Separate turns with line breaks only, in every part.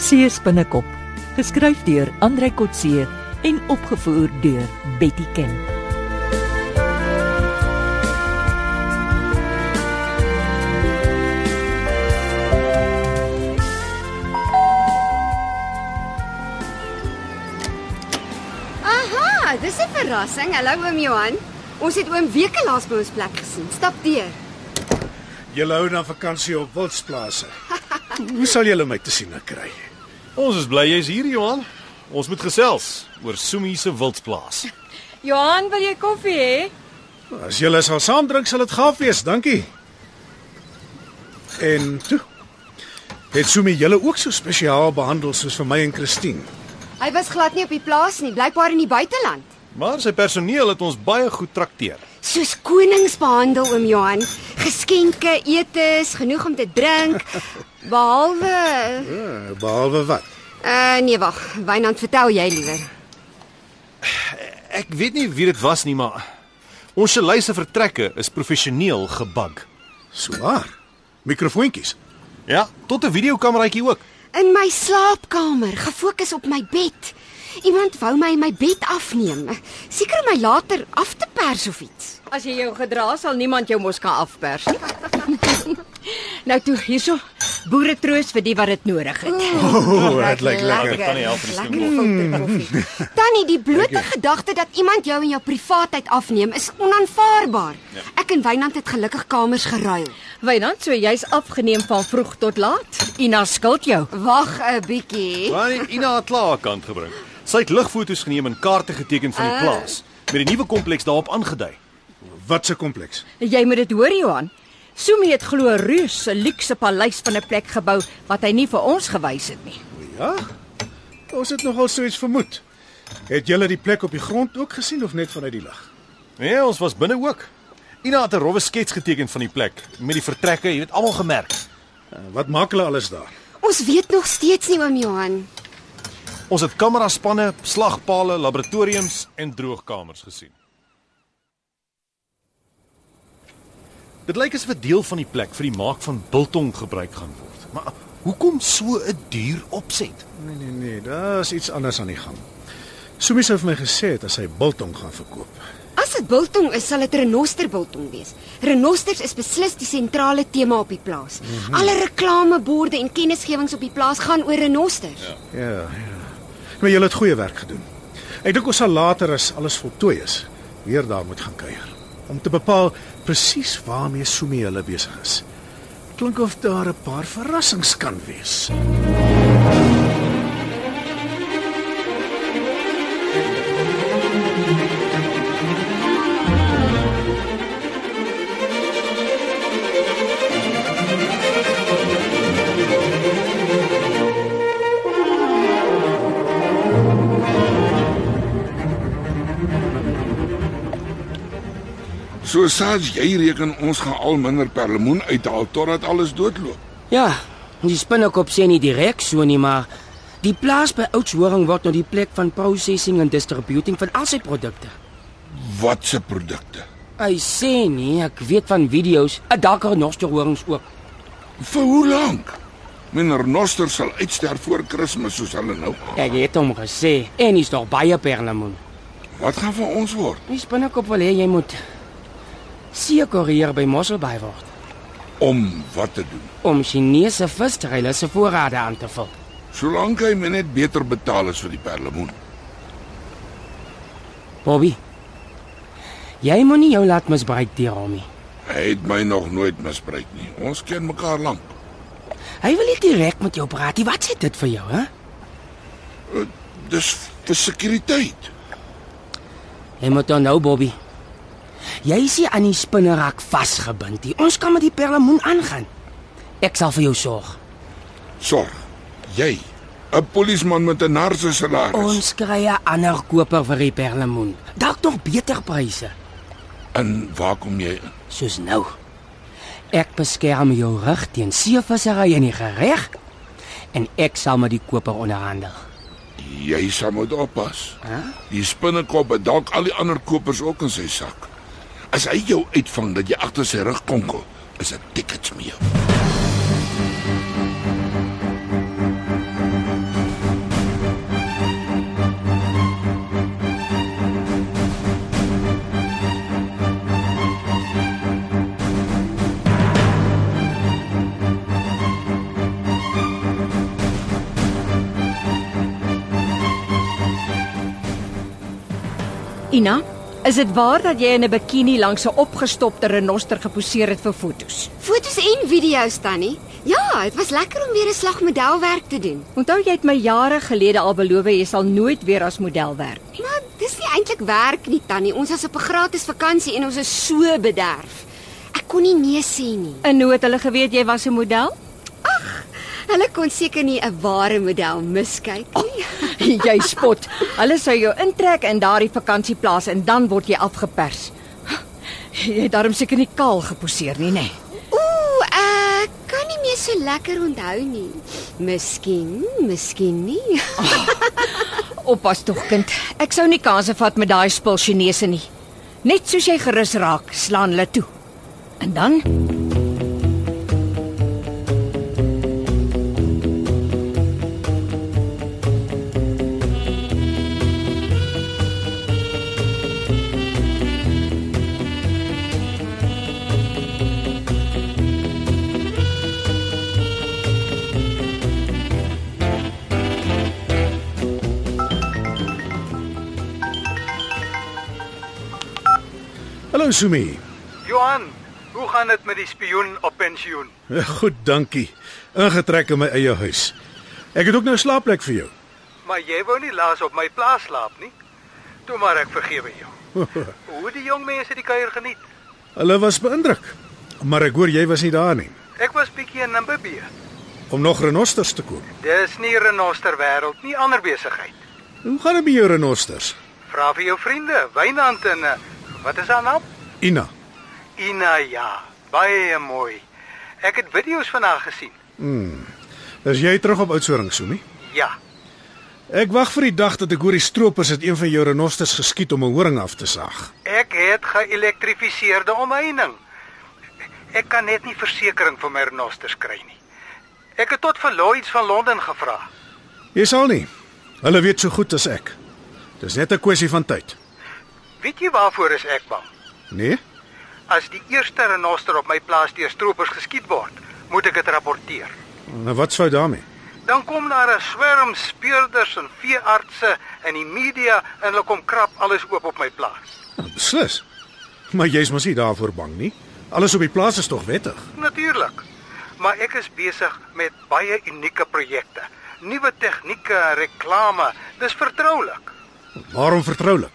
Coetzee se binnekop, geskryf deur Andrei Coetzee en opgevoer deur Betty Ken.
Aha, dis 'n verrassing. Hallo oom Johan. Ons het oom weke laas by ons plek gesien. Stap deur.
Julle hou dan vakansie op wildsplase. Hoe sal julle my te sien kry?
Ons is bly jy's hier, Johan. Ons moet gesels oor Sumi se wildplaas.
Johan, wil jy koffie hê?
As julle sal saam drink sal dit gaaf wees, dankie. En toe. Het Sumi julle ook so spesiaal behandel soos vir my en Christine?
Hy was glad nie op die plaas nie, blykbaar in die buiteland.
Maar sy personeel het ons baie goed trakteer.
Soos konings behandel oom Johan. Geskenke, etes, genoeg om te drink, behalwe
Uh, behalwe wat?
uh nee wag, Wynand, vertel jy liewer.
Ek weet nie wie dit was nie, maar ons gelei se vertrekke is professioneel gebug.
Swaar. Mikrofoontjies.
Ja, tot 'n videokameraitjie ook.
In my slaapkamer, gefokus op my bed. Iemand wou my my bed afneem. Seker om my later af te pers of iets.
As jy jou gedra sal niemand jou mos kan afpers nie. nou toe, hierso. Boere troos vir die wat dit nodig het.
Ooh, Oh, dit lyk lekker.
kan nie help nie,
Lekker filter koffie. Tannie, die blote gedagte dat iemand jou in jou privaatheid afneem is onaanvaarbaar. Ek en Wynand het gelukkig kamers geruil.
Wynand, so jy's afgeneem van vroeg tot laat. Ina skuld jou.
Wag 'n bietjie.
Maar nee, Ina het klaar kant gebring. Sy het ligfoto's geneem en kaarte geteken van die plaas met die nuwe kompleks daarop aangedui.
Wat 'n kompleks.
Jy moet dit hoor, Johan. Sumi het glo reus 'n luukse paleis van 'n plek gebou wat hy nie vir ons gewys het nie.
Ja. Ons het nogal so iets vermoed. Het julle die plek op die grond ook gesien of net vanuit die lug?
Nee, ons was binne ook. Ina het 'n rowwe skets geteken van die plek met die vertrekke, jy het almal gemerk.
Uh, wat maak hulle alles daar?
Ons weet nog steeds nie oom Johan.
Ons het kameraspanne, slagpale, laboratoriums en droogkamers gesien. Dit lyk asof 'n deel van die plek vir die maak van biltong gebruik gaan word. Maar hoekom so 'n duur opset?
Nee nee nee, daar's iets anders aan die gang. Sumi sou vir my gesê het as hy biltong gaan verkoop.
As dit biltong is, sal dit renosterbultong wees. Renosters is beslis die sentrale tema op die plaas.
Mhm.
Alle reklameborde en kennisgewings op die plaas gaan oor renosters.
Ja, ja. Maar julle het goeie werk gedoen. Ek dink ons sal later as alles voltooi is, weer daar moet gaan kuier om te bepaal presies waarmee Sumi hulle besig is. Klink of daar 'n paar verrassings kan wees.
So saas jy reken ons gaan al minder perlemoen uithaal totdat alles doodloop.
Ja, die spinnekop sê nie direk so nie, maar die plaas by Oudtshoorn word nou die plek van processing en distributing van al sy produkte.
Wat se produkte?
Hy sê nie, ek weet van video's, 'n dakker nosterhorings ook.
Vir hoe lank? Minder noster sal uitsterf voor Kersfees soos hulle nou.
Ek het hom gesê en is nog baie perlemoen.
Wat gaan van ons word?
Die spinnekop wil hê jy moet seker hier by Mosselbaai word
Om wat te doen?
om Chinese visstryle se voorrade aan te vul.
Solank hy my net beter betaal as vir die perlemoen.
Bobby, jy moenie jou laat misbruik deur hom nie.
Hy het my nog nooit misbruik nie. Ons ken mekaar lank.
Hy wil nie direk met jou praat nie. Wat sê dit vir jou, hè?
Dis vir sekuriteit.
Jy moet dan nou, Bobby. Jy is hier aan die spinnerak vasgebind. Die- Ons kan met die perlemoen aangaan. Ek sal vir jou sorg.
Sorg. Jy, 'n polisieman met 'n narse salaris.
Ons kry 'n ander koper vir die perlemoen. Dalk nog beter pryse,
En waar kom jy in?
soos nou. Ek beskerm jou rug teen seevissery en die gereg en ek sal met die koper onderhandel.
Jy sal moet oppas.
Hæ?
Die spinnekop het dalk al die ander kopers ook in sy sak. As hy jou uitvang dat jy agter sy rug konkel, is dit tickets mee.
Ina, is dit waar dat jy in 'n bikini langs 'n opgestopte renoster geposeer het vir fotos?
Fotos en video's tannie. Ja, dit was lekker om weer 'n slag modelwerk te doen.
Onthou jy het my jare gelede al beloof jy sal nooit weer as model werk nie.
Maar dis nie eintlik werk nie tannie. Ons was op 'n gratis vakansie en ons is so bederf. Ek kon nie nee sê nie.
En hoe het hulle geweet jy was 'n model?
Hulle kon seker nie 'n ware model miskyk nie.
jy spot. Hulle sou jou intrek in daardie vakansieplaas en dan word jy afgepers. Jy het darm seker nie kaal geposeer nie, nê? Nee.
Ooh, ek eh, kan nie meer so lekker onthou nie. Miskien, miskien nie.
Oppas tog kind. Ek sou nie kanse vat met daai spul Chinese nie. Net soos jy gerus raak, slaan hulle toe. En dan
Hallo Sumi.
Johan, hoe gaan dit met die spioen op pensioen?
Ja, Goed, dankie. Ingetrek in my eie huis. Ek het ook nou 'n slaapplek vir jou.
Maar jy wou nie laas op my plaas slaap nie. Toe maar ek vergewe jou. Hoe die jong mense die kuier geniet.
Hulle was beïndruk. Maar ek hoor jy was nie daar nie
Ek was bietjie in Namibië.
om nog renosters te koop.
Dis nie renoster wêreld nie, ander besigheid.
Hoe gaan dit met jou renosters?
Vra vir jou vriende, Wynand en eh, wat is haar naam?
Ina.
Ina ja, baie mooi. Ek het video's van haar gesien.
Is jy terug op Oudtshoorn, Sumi?
Ja,
Ek wag vir die dag dat ek hoor die stroopers het een van jou renosters geskiet om 'n horing af te saag.
ek het geelektrifiseerde omheining. Ek kan net nie versekerings vir my renosters kry nie. Ek het tot vir Lloyds van Londen gevra.
Jy sal nie. Hulle weet so goed as ek. Dis net 'n kwessie van tyd.
Weet jy waarvoor is ek bang?
Nee?
As die eerste renoster op my plaas deur stroopers geskiet word, moet ek dit rapporteer.
Nou wat sou daarmee?
Dan kom daar 'n swerm speurders en veeartse en die media en hulle kom krap alles oop op my plaas.
Nou, Beslis. Maar jy's mos nie daarvoor bang nie. Alles op die plaas is tog wettig.
Natuurlik. Maar ek is besig met baie unieke projekte, nuwe tegnieke, reklame, dis vertroulik.
Waarom vertroulik?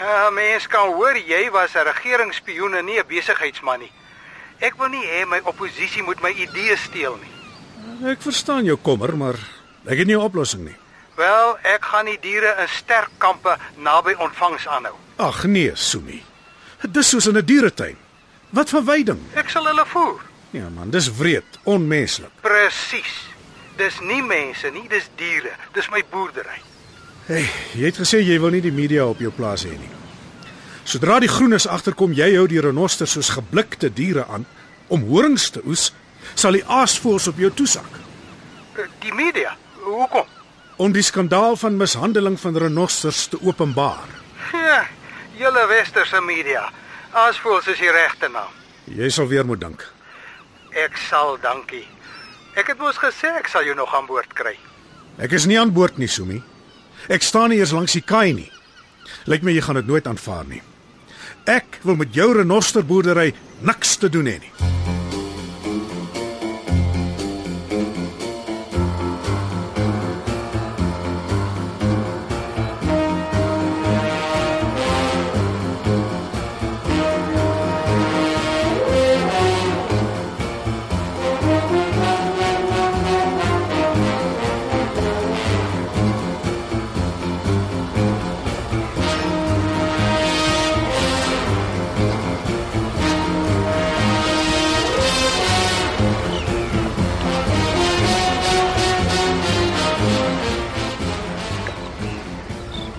Ja, mens kan hoor jy was 'n regeringsspioen en nie 'n besigheidsman nie. Ek wil nie hê my oppositie moet my idees steel nie.
Ek verstaan jou kommer, maar ek het nie 'n oplossing nie.
Wel, ek gaan die diere in sterk kampe naby ontvangs aanhou.
Ag nee, Sumi. Dis soos in 'n dieretuin. Wat van wyding?
Ek sal hulle voer.
Ja man, dis wreed, onmenslik.
Presies. Dis nie mense nie, dis diere. Dis my boerdery.
Hey, jy het gesê jy wil nie die media op jou plaas hê nie. Sodra die groenes agterkom jy hou die renosters soos geblikte diere aan om horings te oes, sal die aasvoëls op jou toesak.
Eh, Die media, hoekom?
Om die skandaal van mishandeling van renosters te openbaar.
Ja, julle westerse media. Asvoels is die regte naam.
Jy sal weer moet dink.
Ek sal dankie. Ek het mos gesê ek sal jou nog aan boord kry.
Ek is nie aan boord nie, Sumi. Ek staan nie eers langs die kaai nie. Lyk my jy gaan dit nooit aanvaar nie. Ek wil met jou renosterboerdery niks te doen hê nie.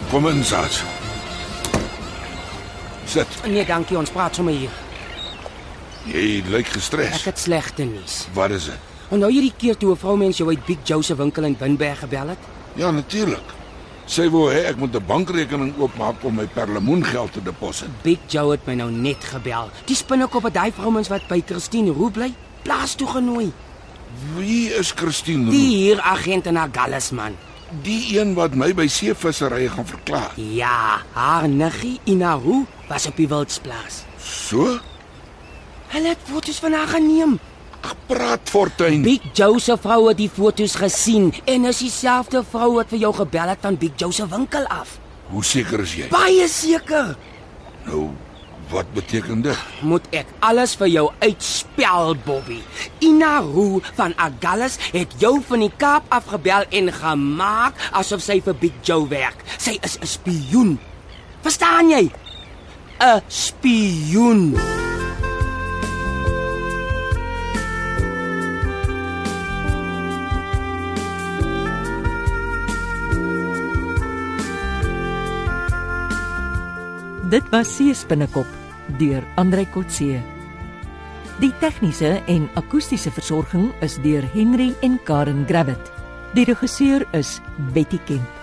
Kom in, Sas. Sit.
Nee, dankie, ons praat sommer hier.
Jy lyk
Ek
gestres.
het slegte nuus.
Wat is dit?
Onthou jy die nou keer toe 'n vroumens jou uit Big Joe se winkel in Winberg gebel het?
Ja, natuurlik. Sy wou hê ek moet 'n bankrekening oopmaak om my perlemoengeld te deposit.
Big Joe het my nou net gebel. Die spinnekop het daai vroumens wat by Christine Roux bly, plaas toe genooi.
Wie is Christine? Roux?
Die hier agent in Agallas man.
die een wat my by seevissery gaan verklaar.
Ja, haar niggie Inahu was op die wildsplaas.
So?
Hulle het foto's van haar geneem.
Ag praat Fortuin.
Big Joe se vrou het die foto's gesien en is dieselfde vrou wat vir jou gebel het van Big Joe se winkel af.
Hoe seker is jy?
Baie seker.
Nou, wat beteken dit?
Moet ek alles vir jou uitspel, Bobby? Inahu van Agallas het jou van die Kaap afgebel en gemaak asof sy vir Big Joe werk. Sy is 'n spioen. Verstaan jy? 'n Spioen.
Dit was Sees binnekop deur Andrei Kotse. Die tegniese en akoestiese versorging is deur Henry en Karen Gravett. Die regisseur is Betty Kemp.